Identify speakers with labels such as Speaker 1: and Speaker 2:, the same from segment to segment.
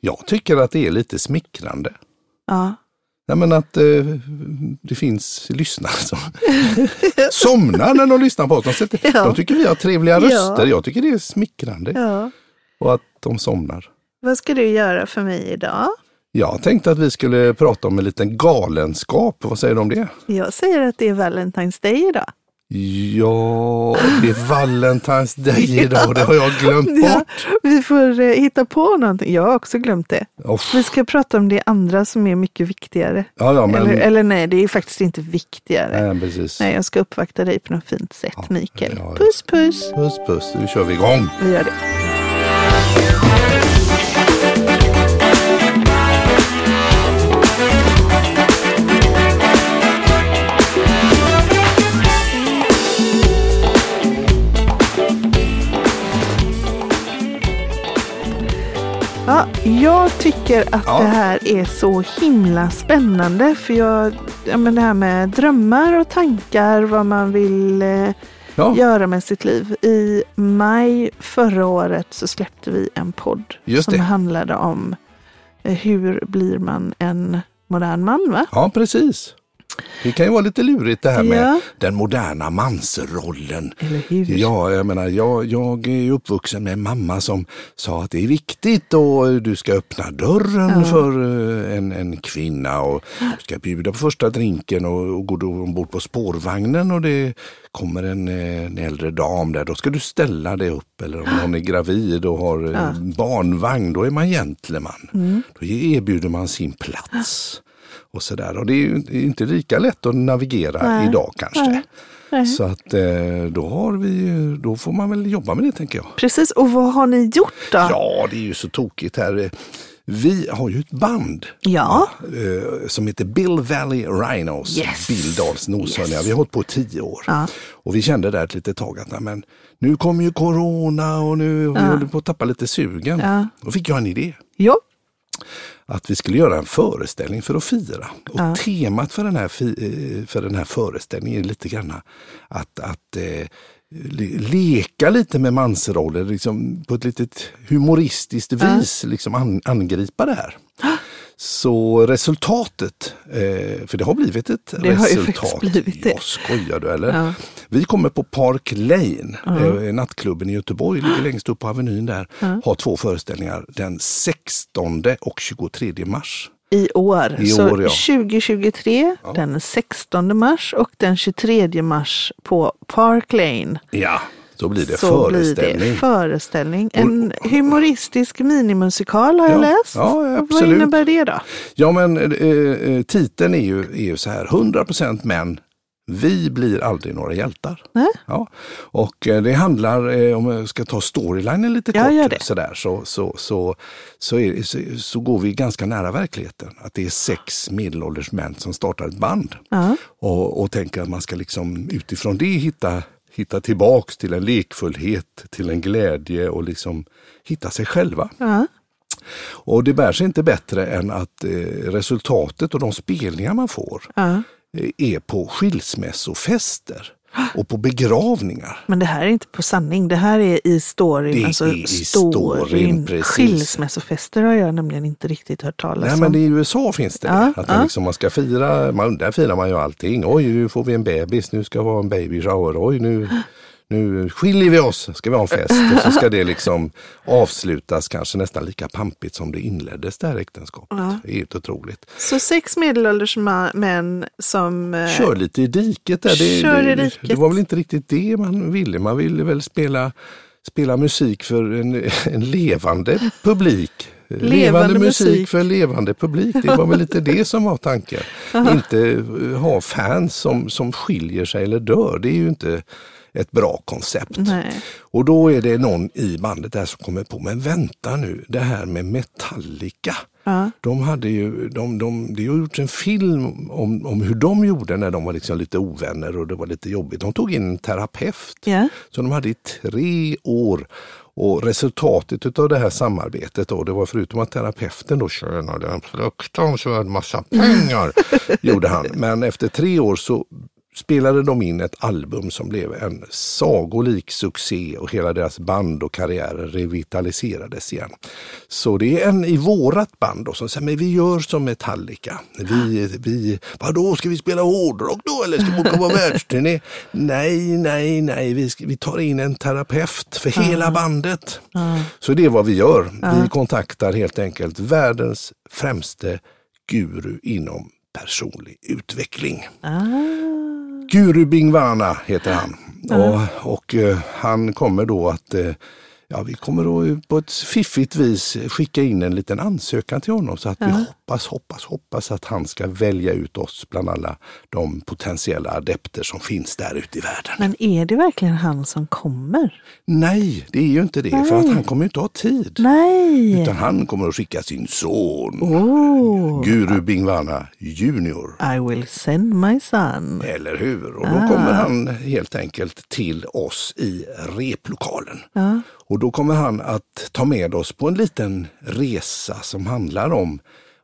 Speaker 1: Jag tycker att det är lite smickrande.
Speaker 2: Ja.
Speaker 1: Nej, men att eh, det finns lyssnare som somnar när de lyssnar på oss. De, sätter,
Speaker 2: Ja.
Speaker 1: de tycker vi har trevliga
Speaker 2: Ja.
Speaker 1: röster. Jag tycker det är smickrande.
Speaker 2: ja.
Speaker 1: Och att de somnar.
Speaker 2: Vad ska du göra för mig idag?
Speaker 1: Jag tänkte att vi skulle prata om en liten galenskap. Vad säger du om det?
Speaker 2: Jag säger att det är Valentine's Day idag.
Speaker 1: Ja, det är Valentine's Day idag. Det har jag glömt
Speaker 2: Ja,
Speaker 1: bort.
Speaker 2: vi får eh, hitta på någonting. Jag har också glömt det.
Speaker 1: Uff.
Speaker 2: Vi ska prata om det andra som är mycket viktigare.
Speaker 1: Ja, ja, men...
Speaker 2: Eller, eller nej, det är faktiskt inte viktigare.
Speaker 1: Nej, precis.
Speaker 2: Nej, jag ska uppvakta dig på något fint sätt, Mikael.
Speaker 1: ja, ja.
Speaker 2: Puss, puss.
Speaker 1: Puss, puss. Nu kör vi igång.
Speaker 2: Vi gör det. Ja, jag tycker att
Speaker 1: Ja.
Speaker 2: det här är så himla spännande. För jag, ja, men det här med drömmar och tankar, vad man vill eh,
Speaker 1: Ja,
Speaker 2: göra med sitt liv. I maj förra året så släppte vi en podd
Speaker 1: just
Speaker 2: som
Speaker 1: det.
Speaker 2: handlade om eh, hur blir man en modern man, va?
Speaker 1: Ja, precis. Det kan ju vara lite lurigt det här med
Speaker 2: Ja.
Speaker 1: den moderna mansrollen.
Speaker 2: Eller hur?
Speaker 1: Ja, jag menar, jag, jag är ju uppvuxen med en mamma som sa att det är viktigt och du ska öppna dörren för eh, en, en kvinna och du ska bjuda på första drinken och, och går du ombord på spårvagnen och det kommer en, eh, en äldre dam där, då ska du ställa dig upp. Eller om någon är gravid och har eh, barnvagn, då är man gentleman. Då erbjuder man sin plats. Och, sådär. och det är ju inte lika lätt att navigera idag kanske.
Speaker 2: Nej.
Speaker 1: Så att eh, då, har vi, ju- då får man väl jobba med det tänker jag.
Speaker 2: Precis, och vad har ni gjort då?
Speaker 1: Ja, det är ju så tokigt här. Vi har ju ett band
Speaker 2: Ja.
Speaker 1: eh, som heter Bill Valley Rhinos,
Speaker 2: Yes.
Speaker 1: Bildals noshörningar.
Speaker 2: Yes.
Speaker 1: Vi har hållit på i tio år.
Speaker 2: Ja.
Speaker 1: Och vi kände där ett litet tag att nej, men, nu kommer ju corona och nu och vi håller på att tappa lite sugen.
Speaker 2: Ja.
Speaker 1: Då fick jag en idé
Speaker 2: Ja.
Speaker 1: att vi skulle göra en föreställning för att fira. Och temat för den här, fi- eh, för den här föreställningen är lite grann att, att eh, le- leka lite med mansroller, liksom på ett litet humoristiskt vis liksom an, angripa det här. Så resultatet, eh, för det har blivit ett
Speaker 2: ju
Speaker 1: resultat.
Speaker 2: faktiskt blivit det.
Speaker 1: Ja, skojar du eller? Vi kommer på Park Lane, eh, nattklubben i Göteborg,
Speaker 2: Ah.
Speaker 1: ligger längst upp på Avenyn där. Har två föreställningar den 16 och 23 mars.
Speaker 2: I år.
Speaker 1: I
Speaker 2: så
Speaker 1: år, ja.
Speaker 2: 2023, den 16 mars och den 23 mars på Park Lane.
Speaker 1: Ja, då blir det
Speaker 2: så
Speaker 1: föreställning.
Speaker 2: blir det föreställning. En humoristisk minimusikal har jag
Speaker 1: Ja.
Speaker 2: läst.
Speaker 1: Ja,
Speaker 2: Vad
Speaker 1: absolut.
Speaker 2: innebär det då?
Speaker 1: Ja men eh, eh, titeln är ju, är ju så här, 100% män, vi blir aldrig några hjältar.
Speaker 2: Nej.
Speaker 1: Ja. Och eh, det handlar, eh, om jag ska ta storylinen lite
Speaker 2: Ja,
Speaker 1: kort,
Speaker 2: gör det.
Speaker 1: Så, där, så, så, så, så, är, så, så går vi ganska nära verkligheten. Att det är sex medelålders män som startar ett band
Speaker 2: Ja.
Speaker 1: och, och tänker att man ska liksom utifrån det hitta, hitta tillbaks till en lekfullhet, till en glädje och liksom hitta sig själva.
Speaker 2: Ja.
Speaker 1: Och det bär sig inte bättre än att eh, resultatet och de spelningar man får
Speaker 2: Ja.
Speaker 1: eh, är på skilsmässofester och på begravningar.
Speaker 2: Men det här är inte på sanning, det här är i storyn.
Speaker 1: Det
Speaker 2: alltså
Speaker 1: är i
Speaker 2: storyn.
Speaker 1: storyn, precis.
Speaker 2: Skilsmässofester har jag nämligen inte riktigt hört talas
Speaker 1: Nej
Speaker 2: om.
Speaker 1: men i USA finns det.
Speaker 2: Ja,
Speaker 1: att
Speaker 2: ja.
Speaker 1: man, liksom, man ska fira, man, där firar man ju allting. Oj, nu får vi en bebis, nu ska det vara en baby shower. Oj, nu, nu skiljer vi oss, ska vi ha en fest. Och så ska det liksom avslutas kanske nästan lika pampigt som det inleddes det här äktenskapet. Det är ju inte otroligt.
Speaker 2: Så sex medelålders ma- män som... eh,
Speaker 1: Kör lite i diket där. Det,
Speaker 2: Kör i
Speaker 1: det,
Speaker 2: diket.
Speaker 1: det var väl inte riktigt det man ville. Man ville väl spela, spela musik för en, en levande publik. Levande, musik,
Speaker 2: musik.
Speaker 1: för en levande publik. Det var väl lite det som var tanken. inte eh, ha fans som, som skiljer sig eller dör. Det är ju inte ett bra koncept.
Speaker 2: Nej.
Speaker 1: Och då är det någon i bandet där som kommer på, men vänta nu, det här med Metallica. De hade ju, de, de, det har gjorts en film om, om hur de gjorde när de var liksom lite ovänner och det var lite jobbigt. De tog in en terapeut
Speaker 2: Ja.
Speaker 1: som de hade i tre år. Och resultatet av det här samarbetet då, det var förutom att terapeuten då tjänade en fruktansvärd massa pengar, gjorde han. Men efter tre år så spelade de in ett album som blev en sagolik succé och hela deras band och karriärer revitaliserades igen. Så det är en i vårat band då som säger, men vi gör som Metallica. Vi, vi, vadå, ska vi spela hårdrock då eller ska vi åka på världsturné? Nej, nej, nej, vi, ska, vi tar in en terapeut för hela bandet. Så det är vad vi gör. Vi kontaktar helt enkelt världens främste guru inom personlig utveckling. Guru Bingvana heter han. Och, och eh, han kommer då att eh, Ja, vi kommer då på ett fiffigt vis skicka in en liten ansökan till honom så att vi hoppas, hoppas, hoppas att han ska välja ut oss bland alla de potentiella adepter som finns där ute i världen.
Speaker 2: Men är det verkligen han som kommer?
Speaker 1: Nej, det är ju inte det, för att han kommer ju inte ha tid.
Speaker 2: Nej!
Speaker 1: Utan han kommer att skicka sin son,
Speaker 2: Oh,
Speaker 1: Guru Bingvana Junior.
Speaker 2: I will send my son.
Speaker 1: Eller hur? Och då kommer han helt enkelt till oss i replokalen. Och då kommer han att ta med oss på en liten resa som handlar om,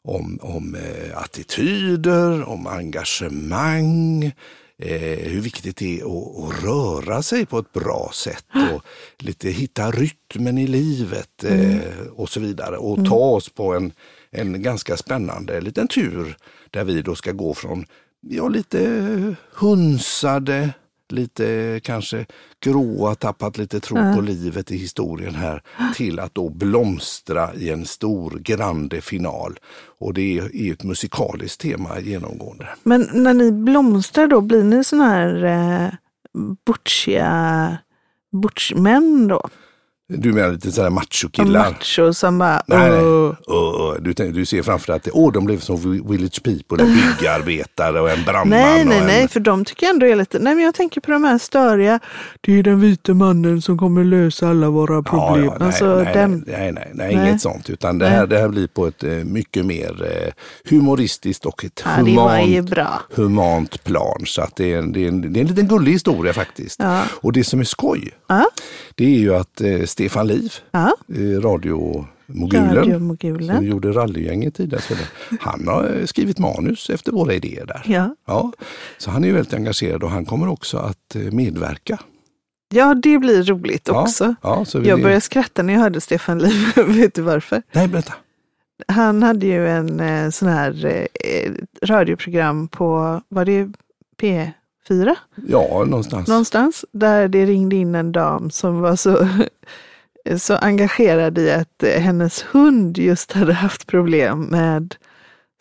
Speaker 1: om, om eh, attityder, om engagemang, eh, hur viktigt det är att, att röra sig på ett bra sätt och lite hitta rytmen i livet eh, och så vidare. Och ta oss på en, en ganska spännande liten tur där vi då ska gå från ja, lite hunsade, lite kanske gråa, tappat lite tro på livet i historien här, till att då blomstra i en stor grande final. Och det är ju ett musikaliskt tema genomgående.
Speaker 2: Men när ni blomstrar då, blir ni sådana här eh, butchiga butchmän då?
Speaker 1: Du menar lite sådär machokillar?
Speaker 2: Macho som bara...
Speaker 1: Nej, nej.
Speaker 2: "Åh."
Speaker 1: Åh, åh, du, tänk- du ser framför dig att det- åh, de blev som Vi- Village People, en byggarbetare och en brandman.
Speaker 2: Nej,
Speaker 1: och
Speaker 2: nej,
Speaker 1: en...
Speaker 2: nej, för de tycker jag ändå är lite... Nej, men jag tänker på de här störiga. Det är den vita mannen som kommer lösa alla våra problem.
Speaker 1: Ja, ja, nej,
Speaker 2: alltså,
Speaker 1: nej,
Speaker 2: den...
Speaker 1: nej, nej, nej, nej,
Speaker 2: Nej.
Speaker 1: inget sånt. Utan det här, det här blir på ett eh, mycket mer eh, humoristiskt och ett
Speaker 2: Ja, det var ju
Speaker 1: humant,
Speaker 2: bra.
Speaker 1: humant plan. Så att det, är en, det, är en, det är en liten gullig historia faktiskt. Och det som är skoj,
Speaker 2: Ja,
Speaker 1: det är ju att eh, Stefan Liv,
Speaker 2: ja.
Speaker 1: eh, radiomogulen, som
Speaker 2: Radiomogulen.
Speaker 1: gjorde rallygänget tidigare, så det- han har eh, skrivit manus efter våra idéer där.
Speaker 2: Ja.
Speaker 1: Ja, så han är ju väldigt engagerad och han kommer också att eh, medverka.
Speaker 2: ja, det blir roligt
Speaker 1: Ja,
Speaker 2: också.
Speaker 1: Ja, så vi,
Speaker 2: Jag började skratta när jag hörde Stefan Liv. Vet du varför?
Speaker 1: Nej, berätta.
Speaker 2: Han hade ju en eh, sån här eh, radioprogram på, var det P4?
Speaker 1: Ja, någonstans.
Speaker 2: någonstans där det ringde in en dam som var så, så engagerad i att eh, hennes hund just hade haft problem med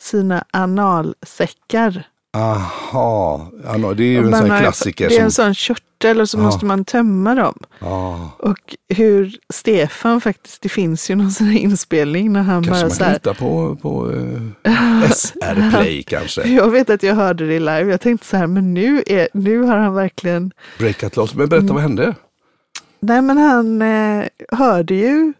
Speaker 2: sina analsäckar.
Speaker 1: Aha, ja, no, det är ju
Speaker 2: Och
Speaker 1: en
Speaker 2: man
Speaker 1: sån
Speaker 2: har
Speaker 1: här
Speaker 2: ju-
Speaker 1: klassiker.
Speaker 2: Det är en
Speaker 1: som,
Speaker 2: sån körtel och så
Speaker 1: Ja.
Speaker 2: måste man tömma dem.
Speaker 1: ja,
Speaker 2: Och hur Stefan faktiskt, det finns ju någon sån här inspelning när han
Speaker 1: kanske
Speaker 2: bara
Speaker 1: man
Speaker 2: så
Speaker 1: kan
Speaker 2: här,
Speaker 1: hitta på, på eh, SR Play kanske.
Speaker 2: jag vet att jag hörde det live, jag tänkte så här, men nu, är, nu har han verkligen
Speaker 1: Breakat loss. Men berätta, vad hände?
Speaker 2: Nej, men han eh, hörde ju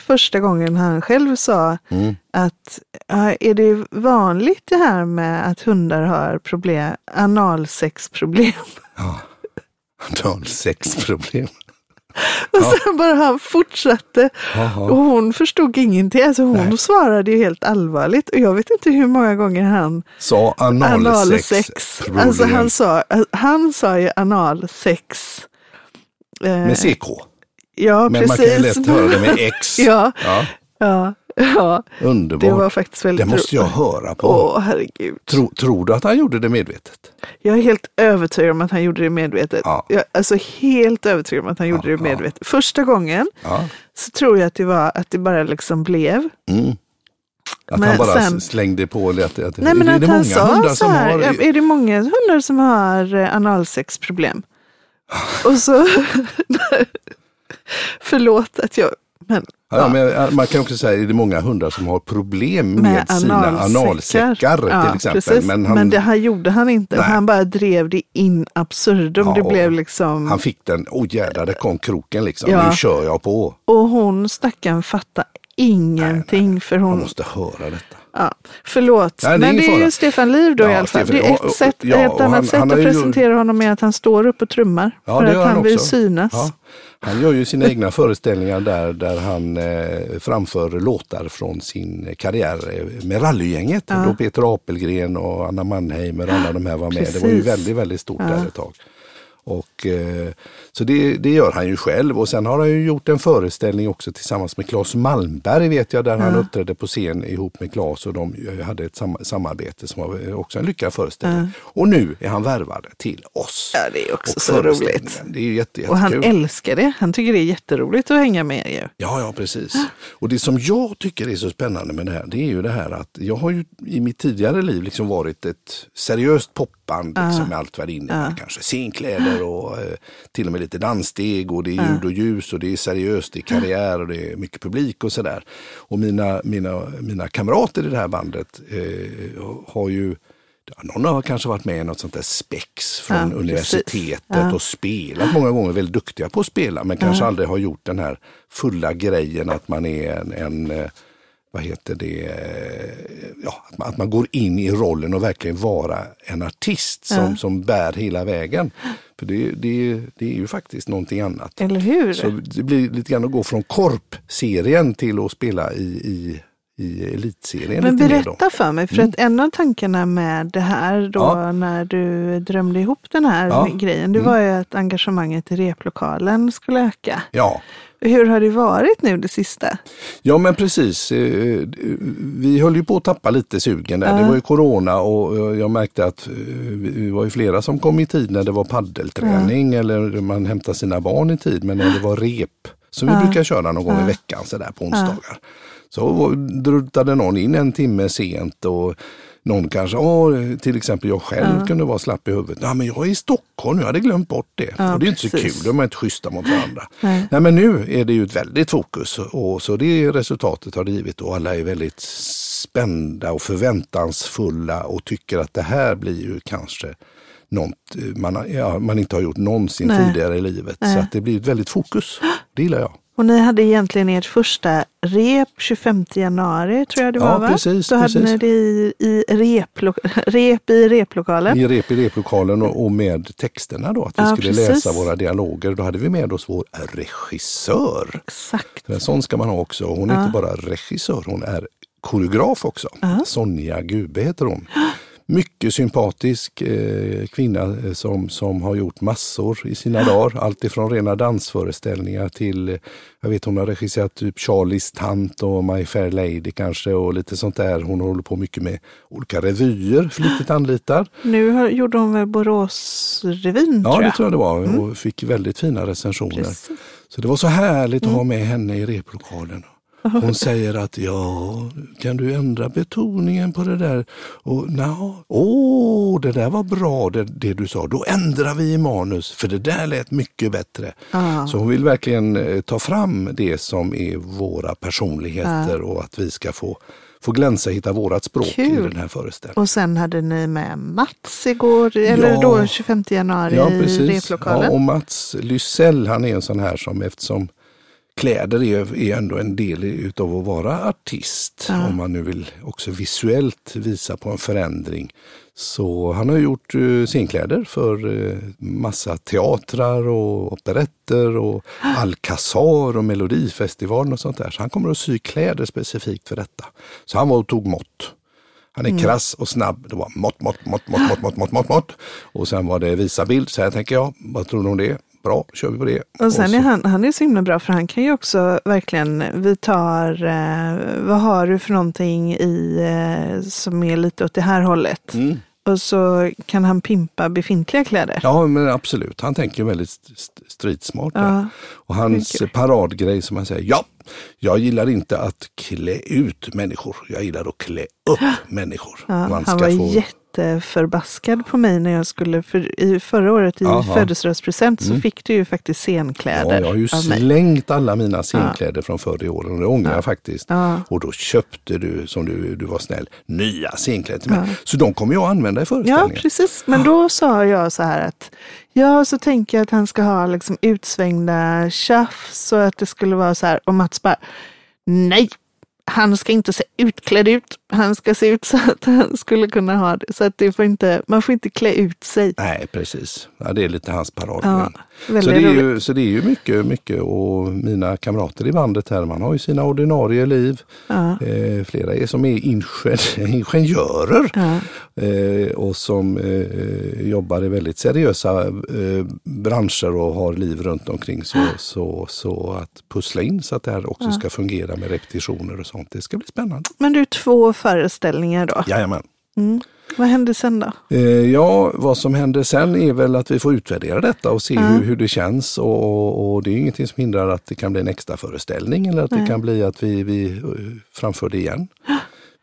Speaker 2: första gången han själv sa
Speaker 1: Mm.
Speaker 2: att ja, är det vanligt det här med att hundar har problem, analsexproblem?
Speaker 1: Analsexproblem.
Speaker 2: Och sen bara han fortsatte. Och hon förstod ingenting. Alltså hon svarade ju helt allvarligt. Och jag vet inte hur många gånger han
Speaker 1: Sa
Speaker 2: analsex.
Speaker 1: analsexproblem.
Speaker 2: Alltså han sa, han sa ju analsex. Eh,
Speaker 1: Med CK.
Speaker 2: ja,
Speaker 1: Men man kan ju
Speaker 2: precis.
Speaker 1: lätt höra det med X.
Speaker 2: ja,
Speaker 1: Ja,
Speaker 2: ja, ja.
Speaker 1: underbart.
Speaker 2: Det var faktiskt väldigt
Speaker 1: Det måste jag höra på.
Speaker 2: Åh, herregud.
Speaker 1: Tro, tror du att han gjorde det medvetet?
Speaker 2: Jag är helt övertygad om att han gjorde det medvetet.
Speaker 1: Ja.
Speaker 2: Jag, alltså helt övertygad om att han gjorde det medvetet. Första gången
Speaker 1: Ja.
Speaker 2: så tror jag att det var att det bara liksom blev.
Speaker 1: Att
Speaker 2: Men
Speaker 1: han bara
Speaker 2: sen-
Speaker 1: slängde på att, att,
Speaker 2: Nej men
Speaker 1: är
Speaker 2: att
Speaker 1: det
Speaker 2: han
Speaker 1: många hundar
Speaker 2: sa så
Speaker 1: som
Speaker 2: här,
Speaker 1: har...
Speaker 2: är det många hundar som har eh, analsexproblem?
Speaker 1: Ah.
Speaker 2: Och så, förlåt att jag, men
Speaker 1: Ja, ja, men eh, man kan också säga att det är många hundar som har problem med,
Speaker 2: med
Speaker 1: sina
Speaker 2: analsäckar.
Speaker 1: analsäckar
Speaker 2: Ja,
Speaker 1: till exempel.
Speaker 2: precis. Men,
Speaker 1: Men han,
Speaker 2: det här gjorde han inte.
Speaker 1: Nej.
Speaker 2: Han bara drev det in absurdum.
Speaker 1: Ja,
Speaker 2: det
Speaker 1: och
Speaker 2: blev liksom...
Speaker 1: han fick den, åh jädrar, där kom kroken liksom,
Speaker 2: Ja.
Speaker 1: nu kör jag på.
Speaker 2: Och hon stackaren fattar ingenting för
Speaker 1: Man
Speaker 2: hon...
Speaker 1: måste höra detta.
Speaker 2: Ja, förlåt,
Speaker 1: Nej, det är
Speaker 2: men
Speaker 1: ingen
Speaker 2: det är ju
Speaker 1: fara.
Speaker 2: Stefan Liv då
Speaker 1: Ja,
Speaker 2: i alla fall.
Speaker 1: Stefan,
Speaker 2: det är
Speaker 1: och- och-
Speaker 2: ett, sätt,
Speaker 1: ja,
Speaker 2: ett
Speaker 1: och
Speaker 2: annat
Speaker 1: han-
Speaker 2: sätt
Speaker 1: han har
Speaker 2: att
Speaker 1: ju gjort-
Speaker 2: presentera honom är att han står upp och trummar.
Speaker 1: Ja,
Speaker 2: för
Speaker 1: det
Speaker 2: att
Speaker 1: gör
Speaker 2: han, vill
Speaker 1: också.
Speaker 2: synas.
Speaker 1: Ja. Han gör ju sina egna föreställningar där, där han eh, framför låtar från sin karriär eh, med rallygänget. Då Peter Apelgren och Anna Mannheimer och alla de här var med. Det var ju
Speaker 2: Precis.
Speaker 1: väldigt, väldigt stort där ett tag. Och, eh, så det, det gör han ju själv och sen har han ju gjort en föreställning också tillsammans med Claes Malmberg vet jag där han uppträdde på scen ihop med Claes och de eh, hade ett sam- samarbete som var eh, också en lyckad föreställning. Och nu är han värvad till oss.
Speaker 2: Ja, det är också
Speaker 1: Och
Speaker 2: så roligt.
Speaker 1: föreställningen. Det är ju jätte,
Speaker 2: Och han
Speaker 1: jättekul.
Speaker 2: älskar det. Han tycker det är jätteroligt att hänga med ju.
Speaker 1: Ja, ja, precis. Och det som jag tycker är så spännande med det här, det är ju det här att jag har ju i mitt tidigare liv liksom varit ett seriöst popband
Speaker 2: Ah.
Speaker 1: liksom, med allt vad det innebär. Kanske scenkläder och eh, till och med lite danssteg och det
Speaker 2: Ah.
Speaker 1: är ljud och ljus och det är seriöst, det är karriär och det är mycket publik och sådär. Och mina, mina, mina kamrater i det här bandet eh, har ju ja, någon har kanske varit med i något sånt där spex från
Speaker 2: Ja, precis.
Speaker 1: universitetet
Speaker 2: Ja.
Speaker 1: och spelat många gånger, väldigt duktiga på att spela, men kanske aldrig har gjort den här fulla grejen att man är en, en eh, vad heter det, eh, ja, att, man, att man går in i rollen och verkligen vara en artist som, som bär hela vägen. För det, det, det är ju faktiskt någonting annat.
Speaker 2: Eller hur?
Speaker 1: Så det blir lite grann att gå från korpserien till att spela i, i, i elitserien.
Speaker 2: Men
Speaker 1: lite mer då. Mm.
Speaker 2: berätta för mig, för att en av tankarna med det här då
Speaker 1: Ja.
Speaker 2: när du drömde ihop den här
Speaker 1: Ja. Mm.
Speaker 2: grejen, det var ju att engagemanget i replokalen skulle öka.
Speaker 1: Ja.
Speaker 2: Hur har det varit nu det sista?
Speaker 1: Ja men precis. Eh, Vi höll ju på att tappa lite sugen där. Det var ju corona och eh, jag märkte att eh, vi vi var ju flera som kom i tid när det var paddelträning eller man hämtade sina barn i tid. Men när det var rep, som vi brukar köra någon gång i veckan sådär på onsdagar. Så var- druttade någon in en timme sent och någon kanske, ja, till exempel jag själv kunde vara slapp i huvudet. Ja, men jag är i Stockholm, jag hade glömt bort det.
Speaker 2: Ja,
Speaker 1: och det är inte så
Speaker 2: precis.
Speaker 1: kul, då är man inte schyssta mot varandra.
Speaker 2: Nej.
Speaker 1: Nej men nu är det ju ett väldigt fokus och så det resultatet har det givit och alla är väldigt spända och förväntansfulla och tycker att det här blir ju kanske något eh, man, har- ja, man inte har gjort någonsin
Speaker 2: Nej.
Speaker 1: tidigare i livet. Så att det blir ett väldigt fokus. Det gillar jag.
Speaker 2: Och ni hade egentligen ert första rep 25 januari tror jag det
Speaker 1: Ja,
Speaker 2: var va?
Speaker 1: precis,
Speaker 2: Då hade
Speaker 1: precis.
Speaker 2: ni det i, i replo, rep i replokalen.
Speaker 1: I rep i replokalen och, och med texterna då, att vi
Speaker 2: Ja,
Speaker 1: skulle
Speaker 2: precis.
Speaker 1: läsa våra dialoger. Då hade vi med oss vår regissör.
Speaker 2: Exakt.
Speaker 1: För en sån ska man ha också. Hon är inte bara regissör, hon är koreograf också. Sonja Gube heter hon. Mycket sympatisk eh, kvinna eh, som, som har gjort massor i sina dagar. Allt ifrån rena dansföreställningar till, eh, jag vet hon har regisserat typ Charlies tant och My Fair Lady kanske och lite sånt där. Hon håller på mycket med olika revyer, flitigt anlitad.
Speaker 2: Nu har, gjorde hon väl Boråsrevyn
Speaker 1: Ja,
Speaker 2: tror
Speaker 1: det
Speaker 2: jag.
Speaker 1: tror jag det var och fick väldigt fina recensioner.
Speaker 2: Precis.
Speaker 1: Så det var så härligt
Speaker 2: Mm.
Speaker 1: att ha med henne i replokalen. Hon säger att ja, kan du ändra betoningen på det där? Och "Nja, åh, det där var bra det, det du sa. Då ändrar vi i manus för det där lät mycket bättre.
Speaker 2: Ja.
Speaker 1: Så hon vill verkligen eh, ta fram det som är våra personligheter och att vi ska få, få glänsa, hitta vårat språk i
Speaker 2: Kul.
Speaker 1: den här föreställningen.
Speaker 2: Och sen hade ni med Mats igår, eller
Speaker 1: Ja.
Speaker 2: då 25 januari
Speaker 1: Ja,
Speaker 2: i
Speaker 1: precis. Ja,
Speaker 2: replokalen.
Speaker 1: och Mats Lysell, han är en sån här som eftersom kläder är, är ändå en del utav att vara artist, om man nu vill också visuellt visa på en förändring. Så han har gjort eh, scenkläder för eh, massa teatrar och operetter och Alcazar och Melodifestivalen och sånt där. Så han kommer att sy kläder specifikt för detta. Så han var och tog mått. Han är
Speaker 2: Mm.
Speaker 1: krass och snabb. Det var mått, mått, mått, mått, mått, mått, mått, mått, mått. Och sen var det visa bild. Så här tänker jag. Vad tror du om det? Bra, kör vi på det.
Speaker 2: Och sen
Speaker 1: så-
Speaker 2: är han, han är så himla bra för han kan ju också verkligen, vi tar, eh, vad har du för någonting i, eh, som är lite åt det här
Speaker 1: Mm.
Speaker 2: hållet? Och så kan han pimpa befintliga kläder.
Speaker 1: Ja, men absolut. Han tänker väldigt st- st- stridsmart. där.
Speaker 2: Ja,
Speaker 1: och hans paradgrej som han säger, ja, jag gillar inte att klä ut människor. Jag gillar att klä upp människor.
Speaker 2: Ja,
Speaker 1: Man
Speaker 2: han
Speaker 1: ska
Speaker 2: var
Speaker 1: få-
Speaker 2: jätteförbaskad på mig när jag skulle, för, i, förra året i
Speaker 1: Jaha. Mm.
Speaker 2: födelsedagspresent så fick du ju faktiskt
Speaker 1: Ja,
Speaker 2: scenkläder
Speaker 1: jag har ju
Speaker 2: av mig.
Speaker 1: slängt alla mina scenkläder från förra i år och det ångrar jag faktiskt.
Speaker 2: Ja.
Speaker 1: Och då köpte du, som du, du var snäll, nya scenkläder till mig. Så de kommer jag använda i
Speaker 2: Ja,
Speaker 1: föreställningen.
Speaker 2: precis. Men då sa jag så här att ja, så tänker jag att han ska ha liksom utsvängda tjafs och att det skulle vara så här. Och Mats bara nej, han ska inte se utklädd ut. Han ska se ut så att han skulle kunna ha det. Så att det får inte, man får inte klä ut sig.
Speaker 1: Nej, precis. Ja, det är lite hans paroll.
Speaker 2: Ja,
Speaker 1: men. så,
Speaker 2: väldigt
Speaker 1: det är ju,
Speaker 2: roligt.
Speaker 1: så det är ju mycket, mycket och mina kamrater i bandet här, man har ju sina ordinarie liv.
Speaker 2: Ja.
Speaker 1: Eh, flera är som är ingen- ingenjörer
Speaker 2: Ja.
Speaker 1: eh, och som eh, jobbar i väldigt seriösa eh, branscher och har liv runt omkring. Så, så, så att pussla in så att det här också ska fungera med repetitioner och sånt, det ska bli spännande.
Speaker 2: Men du, två föreställningar då.
Speaker 1: Jajamän.
Speaker 2: Mm. Vad hände sen då?
Speaker 1: Eh, Ja, vad som händer sen är väl att vi får utvärdera detta och se hur, hur det känns. Och, och, och det är ju ingenting som hindrar att det kan bli en extra föreställning eller att det kan bli att vi, vi eh, framför det igen.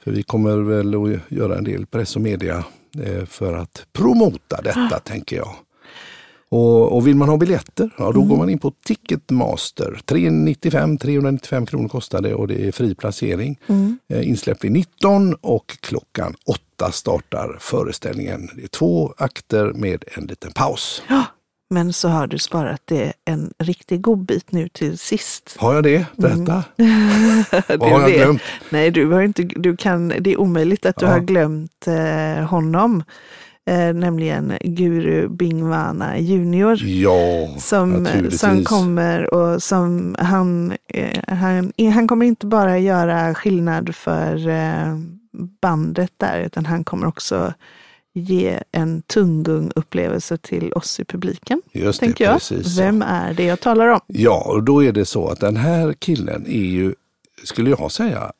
Speaker 1: För vi kommer väl att göra en del press och media eh, för att promota detta, tänker jag. Och, och vill man ha biljetter, ja, då går man in på Ticketmaster. 395, 395 kronor kostar det och det är fri placering. Eh, Insläpp vid 19 och klockan 8 startar föreställningen. Det är två akter med en liten paus.
Speaker 2: Ja, men så har du sparat det en riktig god bit nu till sist.
Speaker 1: Har jag det? Berätta.
Speaker 2: Mm. Det
Speaker 1: Vad har jag
Speaker 2: vet-
Speaker 1: glömt?
Speaker 2: Nej, du har inte, du kan, det är omöjligt att du
Speaker 1: Ja.
Speaker 2: har glömt eh, honom. Eh, nämligen Guru Bingvana junior.
Speaker 1: Ja,
Speaker 2: Som,
Speaker 1: naturligtvis.
Speaker 2: som kommer och som han, eh, han, han kommer inte bara göra skillnad för eh, bandet där, utan han kommer också ge en tunggung-upplevelse till oss i publiken.
Speaker 1: Just det,
Speaker 2: tänker jag.
Speaker 1: precis så.
Speaker 2: Vem är det jag talar om?
Speaker 1: Ja, och då är det så att den här killen är ju, skulle jag säga,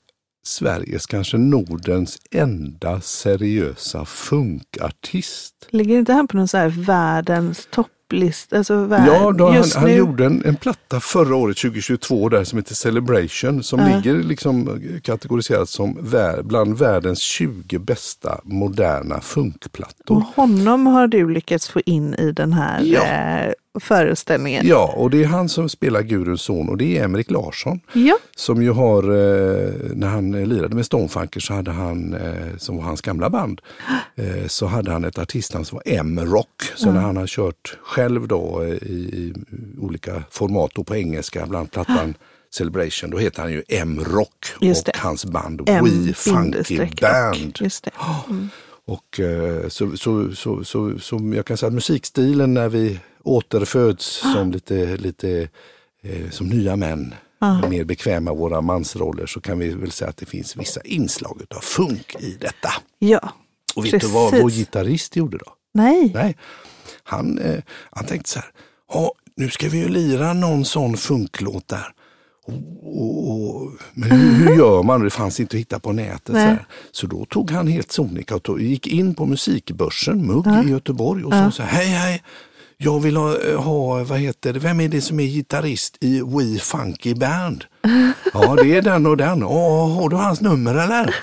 Speaker 1: Sveriges, kanske Nordens enda seriösa funkartist.
Speaker 2: Ligger inte han på någon så här världens topplista? Alltså värld,
Speaker 1: Ja, då han,
Speaker 2: just
Speaker 1: han
Speaker 2: nu?
Speaker 1: gjorde en, en platta förra året, 2022, där som heter Celebration, som ligger liksom kategoriserat som vär, bland världens 20 bästa moderna
Speaker 2: Och
Speaker 1: funkplattor.
Speaker 2: honom har du lyckats få in i den här
Speaker 1: Ja.
Speaker 2: eh, föreställningen.
Speaker 1: Ja, och det är han som spelar Guruns son och det är Emrik Larsson.
Speaker 2: Ja.
Speaker 1: Som ju har, eh, när han eh, lirade med Stonefunker så hade han, eh, som var hans gamla band, eh, så hade han ett artistnamn som var M-rock. Så när han har kört själv då eh, i, i olika format och på engelska, bland plattan Celebration, då heter han ju M-rock
Speaker 2: Just
Speaker 1: och
Speaker 2: det.
Speaker 1: hans band
Speaker 2: M
Speaker 1: We Funky
Speaker 2: bindestreck rock.
Speaker 1: Band.
Speaker 2: Just det.
Speaker 1: Och eh, så, så, så, så, så jag kan säga att musikstilen när vi återföds som lite, lite eh, som nya män, mer bekväma i våra mansroller, så kan vi väl säga att det finns vissa inslag utav funk i detta.
Speaker 2: Ja.
Speaker 1: Och vet du vad
Speaker 2: Precis.
Speaker 1: vår gitarrist gjorde då?
Speaker 2: Nej.
Speaker 1: Nej, han, eh, han tänkte så här, ja, nu ska vi ju lira någon sån funklåt där. Och, och, och, men hur, hur gör man? Det fanns inte att hitta på nätet. Så,
Speaker 2: Nej.
Speaker 1: här. så då tog han helt sonika och tog, gick in på musikbörsen, Mugg i Göteborg och sa så här, hej hej, jag vill ha, eh, ha, vad heter det, vem är det som är gitarrist i We Funky Band? Ja, det är den och den. Åh, har du hans nummer eller?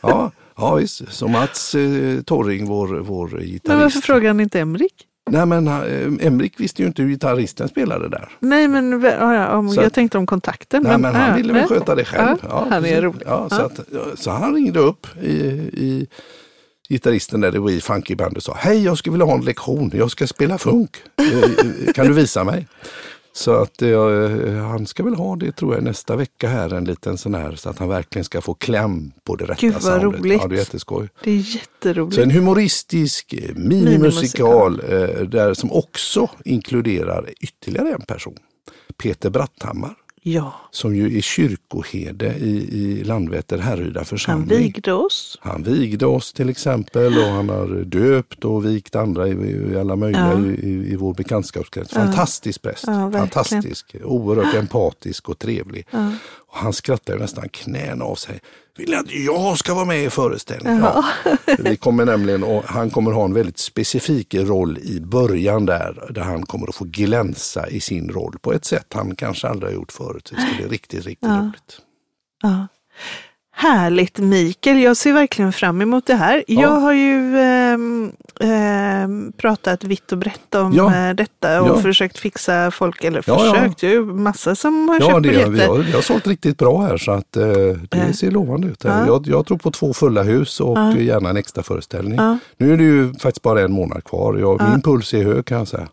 Speaker 1: Ja, ja visst. Så Mats eh, Torring, vår, vår gitarrist.
Speaker 2: Men varför frågar han inte Emrik?
Speaker 1: Nej men eh, Emrik visste ju inte hur gitarristen spelade där.
Speaker 2: Nej, men v- ja, ja, om,
Speaker 1: Så
Speaker 2: jag
Speaker 1: att-
Speaker 2: tänkte om kontakten.
Speaker 1: Nej, men han
Speaker 2: ja,
Speaker 1: ville väl
Speaker 2: nej.
Speaker 1: sköta det själv.
Speaker 2: Ja,
Speaker 1: Ja,
Speaker 2: han är
Speaker 1: precis.
Speaker 2: rolig.
Speaker 1: Ja, så, att, så han ringde upp i, i gitarristen där i We Funky Band och sa Hej, jag skulle vilja ha en lektion. Jag ska spela funk. Eh, kan du visa mig? Så att eh, han ska väl ha det tror jag nästa vecka här en liten sån här så att han verkligen ska få kläm på det rätta
Speaker 2: Gud, vad
Speaker 1: soundet.
Speaker 2: roligt.
Speaker 1: Ja, det är jätteskoj.
Speaker 2: Det är jätteroligt.
Speaker 1: Så en humoristisk eh, minimusikal eh, där som också inkluderar ytterligare en person. Peter Bratthammar
Speaker 2: ja,
Speaker 1: som ju är kyrkoherde i, i Landvetter Härryda
Speaker 2: han
Speaker 1: församling.
Speaker 2: vigde oss.
Speaker 1: han vigde oss till exempel och han har döpt och vigt andra i, i alla möjliga
Speaker 2: Ja.
Speaker 1: i, i, i vår bekantskapskrets. Fantastisk präst,
Speaker 2: Ja, verkligen.
Speaker 1: fantastisk, oerhört empatisk och trevlig. Och han skrattar ju nästan knäna av sig. Vill ni att jag ska vara med i föreställningen? Ja. Vi kommer nämligen, och han kommer ha en väldigt specifik roll i början där, där han kommer att få glänsa i sin roll på ett sätt han kanske aldrig har gjort förut. Så Det ska bli riktigt, riktigt roligt.
Speaker 2: Ja. Härligt Mikael, jag ser verkligen fram emot det här.
Speaker 1: Ja.
Speaker 2: Jag har ju ehm, ehm, pratat vitt och brett om
Speaker 1: Ja.
Speaker 2: eh, detta och
Speaker 1: Ja.
Speaker 2: försökt fixa folk, eller
Speaker 1: Ja, ja.
Speaker 2: försökt, det är ju massa som har
Speaker 1: Ja,
Speaker 2: köpt
Speaker 1: det, vi,
Speaker 2: biljetter.
Speaker 1: har, vi har sålt riktigt bra här så att eh, det ser lovande ut. Här. Jag, jag tror på två fulla hus och gärna en extra föreställning. Nu är det ju faktiskt bara en månad kvar. Jag, Min puls är hög kan jag säga.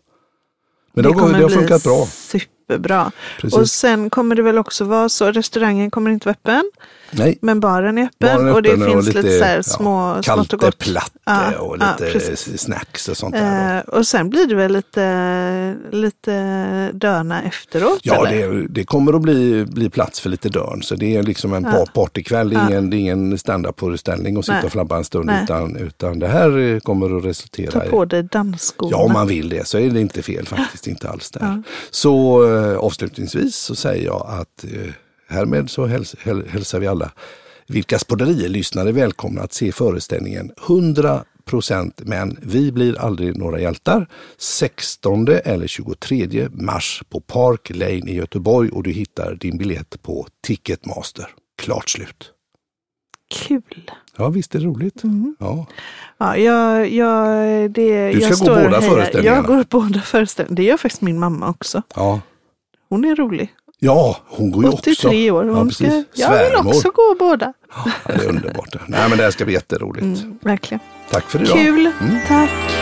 Speaker 1: Men det, har, gått-
Speaker 2: kommer
Speaker 1: det har
Speaker 2: bli
Speaker 1: funkat bra.
Speaker 2: superbra.
Speaker 1: Precis.
Speaker 2: Och sen kommer det väl också vara så, restaurangen kommer inte vara öppen,
Speaker 1: Nej.
Speaker 2: men baren är öppen
Speaker 1: Baren är
Speaker 2: och det
Speaker 1: öppen och
Speaker 2: finns
Speaker 1: lite,
Speaker 2: lite,
Speaker 1: ja,
Speaker 2: så här små, smått och gott.
Speaker 1: Kalteplatte
Speaker 2: Ja,
Speaker 1: och
Speaker 2: ja,
Speaker 1: lite
Speaker 2: precis.
Speaker 1: snacks och sånt där. då.
Speaker 2: Eh, och sen blir det väl lite, lite döna efteråt?
Speaker 1: Ja,
Speaker 2: eller?
Speaker 1: det, det kommer att bli, bli plats för lite dörn. Så det är liksom en ja. partykväll. Det är ingen, det är ingen standup-föreställning och sitta
Speaker 2: Nej.
Speaker 1: och flabba en stund.
Speaker 2: Nej.
Speaker 1: Utan, utan det här eh, kommer att
Speaker 2: Ta
Speaker 1: resultera i...
Speaker 2: på dig dansskorna.
Speaker 1: Ja, om man vill det så är det inte fel faktiskt. Inte alls där. Så eh, avslutningsvis så säger jag att eh, härmed så häls häl hälsar vi alla Vilkas podderier-lyssnare välkomna att se föreställningen 100 men vi blir aldrig några hjältar. 16 eller 23 mars på Park Lane i Göteborg och du hittar din biljett på Ticketmaster. Klart slut.
Speaker 2: Kul!
Speaker 1: Ja, visst är det roligt.
Speaker 2: Mm.
Speaker 1: Ja.
Speaker 2: Ja, jag, jag, det,
Speaker 1: Du ska
Speaker 2: jag
Speaker 1: gå
Speaker 2: står och
Speaker 1: båda
Speaker 2: hejar.
Speaker 1: föreställningarna.
Speaker 2: Jag går båda föreställningarna. Det gör faktiskt min mamma också.
Speaker 1: Ja.
Speaker 2: Hon är rolig.
Speaker 1: ja, hon går ju också.
Speaker 2: 83 år. Hon ska,
Speaker 1: precis.
Speaker 2: jag vill
Speaker 1: Svärmor.
Speaker 2: också gå båda.
Speaker 1: Ja, det är underbart. Nej, men det här ska bli jätteroligt.
Speaker 2: Mm, verkligen.
Speaker 1: Tack för idag.
Speaker 2: Kul!
Speaker 1: Mm.
Speaker 2: Tack!